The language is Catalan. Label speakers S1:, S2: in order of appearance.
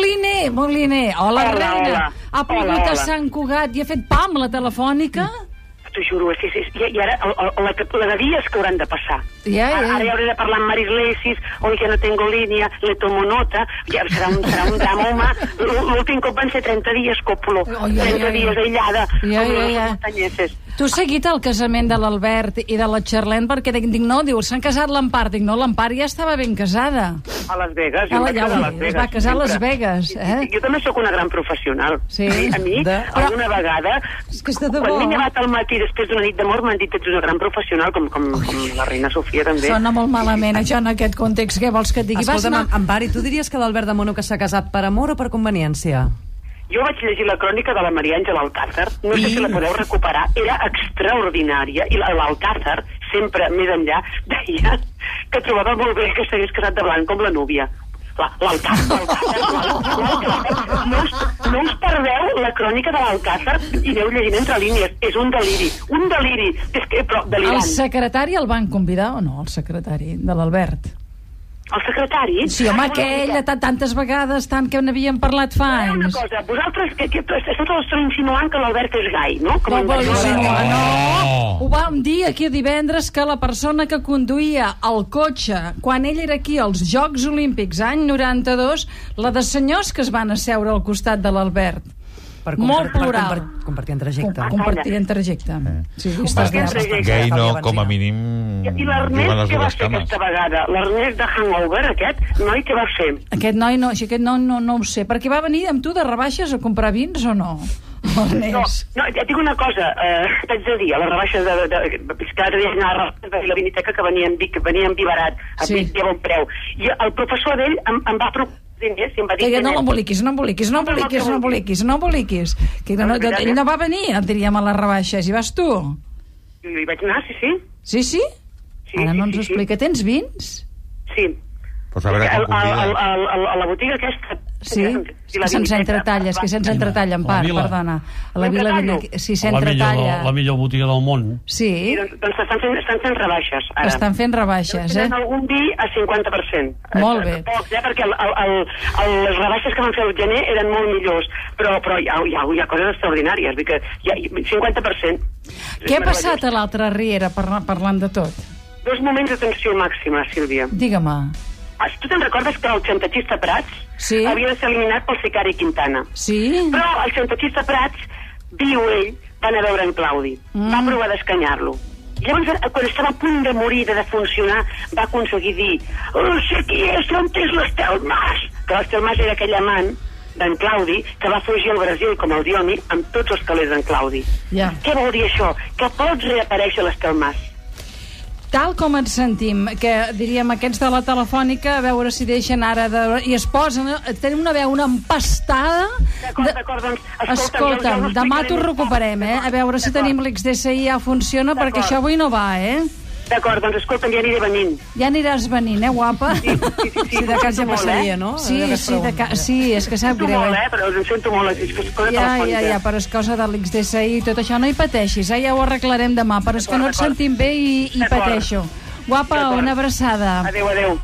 S1: Moliner, Moliner, hola,
S2: Hola,
S1: reina.
S2: hola.
S1: Ha plogut
S2: Hola, hola.
S1: a Sant Cugat i ha fet pam la telefònica?
S2: T'ho juro, és, és, és, i, i ara el, el, la, que- la de dies que hauran de passar.
S1: Ja,
S2: Ara-
S1: ja.
S2: Ara ja hauré de parlar amb Maris Lesis, hoy que no tengo línea, le tomo nota, ja serà un, serà un drama, home. L- L'últim cop van ser 30 dies, Còpolo.
S1: Oh, ja,
S2: 30
S1: ja, ja.
S2: dies aïllada.
S1: Ja,
S2: amb
S1: ja,
S2: les
S1: ja.
S2: muntanyeses.
S1: Tu has seguit el casament de l'Albert i de la Charlene perquè dic, dic no, diu, s'han casat l'Empar. Dic, no, l'Empar ja estava ben casada.
S2: A Las
S1: Ah,
S2: Vegas. jo em vaig
S1: ja,
S2: quedar a
S1: es va casar a Las
S2: sempre.
S1: Vegas,
S2: I-
S1: eh?
S2: i Jo també sóc una gran professional.
S1: Sí,
S2: A mi,
S1: de-
S2: alguna vegada,
S1: És que és de debò,
S2: quan m'he
S1: eh?
S2: llevat al matí després d'una nit d'amor, m'han dit ets una gran professional, com, com, com la reina Sofia també.
S1: Sona molt malament, això, en aquest context. Què vols que et digui?
S3: Escolta'm,
S1: Vas
S3: anar...
S1: anar...
S3: Ampari, tu diries que l'Albert de Mono que s'ha casat per amor o per conveniència?
S2: Jo vaig llegir la crònica de la Maria Àngela Alcázar, no sé si la podeu recuperar, era extraordinària, i la- l'Alcázar, sempre més enllà, deia que trobava molt bé que s'hagués casat de blanc com la núvia. La- L'Alcázar, l'Alcázar, l'Alcázar. no, us, no us perdeu la crònica de l'Alcázar i aneu llegint entre línies. És un deliri, un deliri, és que, però
S1: El
S2: delirant. El,
S1: secretari el van convidar o no, el secretari de l'Albert?
S2: el secretari...
S1: Sí, home,
S2: Ai, una
S1: aquell,
S2: mica.
S1: de tant- tantes vegades, tant que n'havíem parlat fa
S2: Ara Una
S1: anys.
S2: cosa, vosaltres que, que, que vosaltres esteu insinuant que l'Albert és gai, no?
S1: No vol
S2: en Barcelona.
S1: insinuar, no. Ho
S4: Oh.
S1: vam dir aquí divendres que la persona que conduïa el cotxe quan ell era aquí als Jocs Olímpics any 92, la de senyors que es van asseure al costat de l'Albert.
S3: Per
S1: Molt
S3: per
S1: plural.
S3: compar- compartir Eh. en trajecte.
S1: Com- Compartien trajecte. Sí, sí, estàs
S2: Compartien
S1: d'acord.
S2: trajecte.
S4: Gay no, com a mínim,
S2: I
S4: juguen
S2: l'Ernest
S4: les
S2: què va
S4: dues
S2: fer
S4: cames.
S2: aquesta vegada? L'Ernest de Hangover, aquest, noi, què va fer?
S1: Aquest noi no, sí, aquest noi no, no ho sé. Perquè va venir amb tu de rebaixes a comprar vins o no?
S2: No,
S1: Ernest.
S2: no, et dic una cosa, eh, t'haig de dir, a les rebaixes de... de, de és que l'altre dia anava a les rebaixes de la viniteca que venia en Vic, venia en Vivarat, a
S1: Sí.
S2: sí. Vic i a bon preu. I el professor d'ell em, em va proposar diners i em va dir...
S1: Que no
S2: nen,
S1: l'emboliquis, no emboliquis, no emboliquis, no emboliquis, no emboliquis. Que no, que ell no va venir, et diríem, a les rebaixes. I vas tu?
S2: I vaig anar, sí, sí.
S1: Sí, sí?
S2: Sí,
S1: Ara no
S2: sí,
S1: ens ho
S2: sí, sí.
S1: explica. Tens vins?
S2: Sí.
S4: Pues a veure com
S2: a, a,
S4: convida.
S2: a, a, a la botiga aquesta...
S1: Sí?
S2: I
S1: És
S2: la
S1: que se'ns
S2: viniteca.
S1: entretalla, és que se'ns entretalla, en
S5: La
S1: part,
S5: Vila.
S1: perdona. A la
S2: Em
S1: Vila
S2: retallo.
S1: Vinic- Sí,
S5: la millor, la
S1: s'entretalla.
S5: millor botiga del món.
S2: Sí,
S1: Sí,
S2: doncs, doncs estan, fent, estan fent rebaixes, ara.
S1: estan fent rebaixes, eh?
S2: Tenen algun vi a 50%.
S1: Molt bé.
S2: Poc, ja, eh, perquè el, el, el, el, les rebaixes que van fer al gener eren molt millors, però, però hi, ha, hi, ha, hi ha coses extraordinàries. Vull dir que hi ha 50%.
S1: Què ha passat a l'altra riera, parla- parlant de tot?
S2: Dos moments de tensió màxima, Sílvia.
S1: Digue-me.
S2: Ah, Tu te'n recordes que el xantatxista Prats
S1: Sí.
S2: havia de ser eliminat pel sicari Quintana?
S1: Sí?
S2: Però el xantatxista Prats, diu ell, va anar a veure en Claudi. Mm. Va provar d'escanyar-lo. Llavors, eh, quan estava a punt de morir, de defuncionar, va aconseguir dir «No sé qui és, on és l'Estel Mas?» Que l'Estel Mas era aquell amant d'en Claudi que va fugir al Brasil com el Dioni amb tots els calés d'en Claudi.
S1: Ja.
S2: Què vol dir això? Que pot reaparèixer l'Estel Mas.
S1: Tal com ens sentim, que diríem aquests de la telefònica, a veure si deixen ara de... i es posen, eh, tenen una veu, una empastada...
S2: D'acord, d'acord, doncs, escolta'm, ja- ja
S1: Escolta'm,
S2: us ho
S1: demà t'ho
S2: explicaré.
S1: recuperem, eh? A veure si
S2: D'acord.
S1: tenim l'XDSI ja funciona, perquè
S2: D'acord.
S1: això avui no va, eh?
S2: D'acord, doncs escolta'm, ja aniré venint.
S1: Ja aniràs venint, eh, guapa?
S2: Sí, sí, sí,
S3: Sí, de cas ja
S2: sento molt, eh?
S3: passaria, no?
S1: Sí,
S3: Allò que es
S1: sí, de
S3: pregunta.
S1: ca... sí és que sap
S2: Sento
S1: greu.
S2: molt,
S1: eh?
S2: eh? Però em sento molt. És que és cosa
S1: Ja,
S2: telefònica.
S1: ja, ja, però és cosa de l'XDSI i tot això. No hi pateixis, eh? ja ho arreglarem demà, però és que no et
S2: D'acord, d'acord.
S1: sentim bé i, i
S2: D'acord.
S1: pateixo. Guapa,
S2: D'acord.
S1: una abraçada.
S2: Adéu, adéu.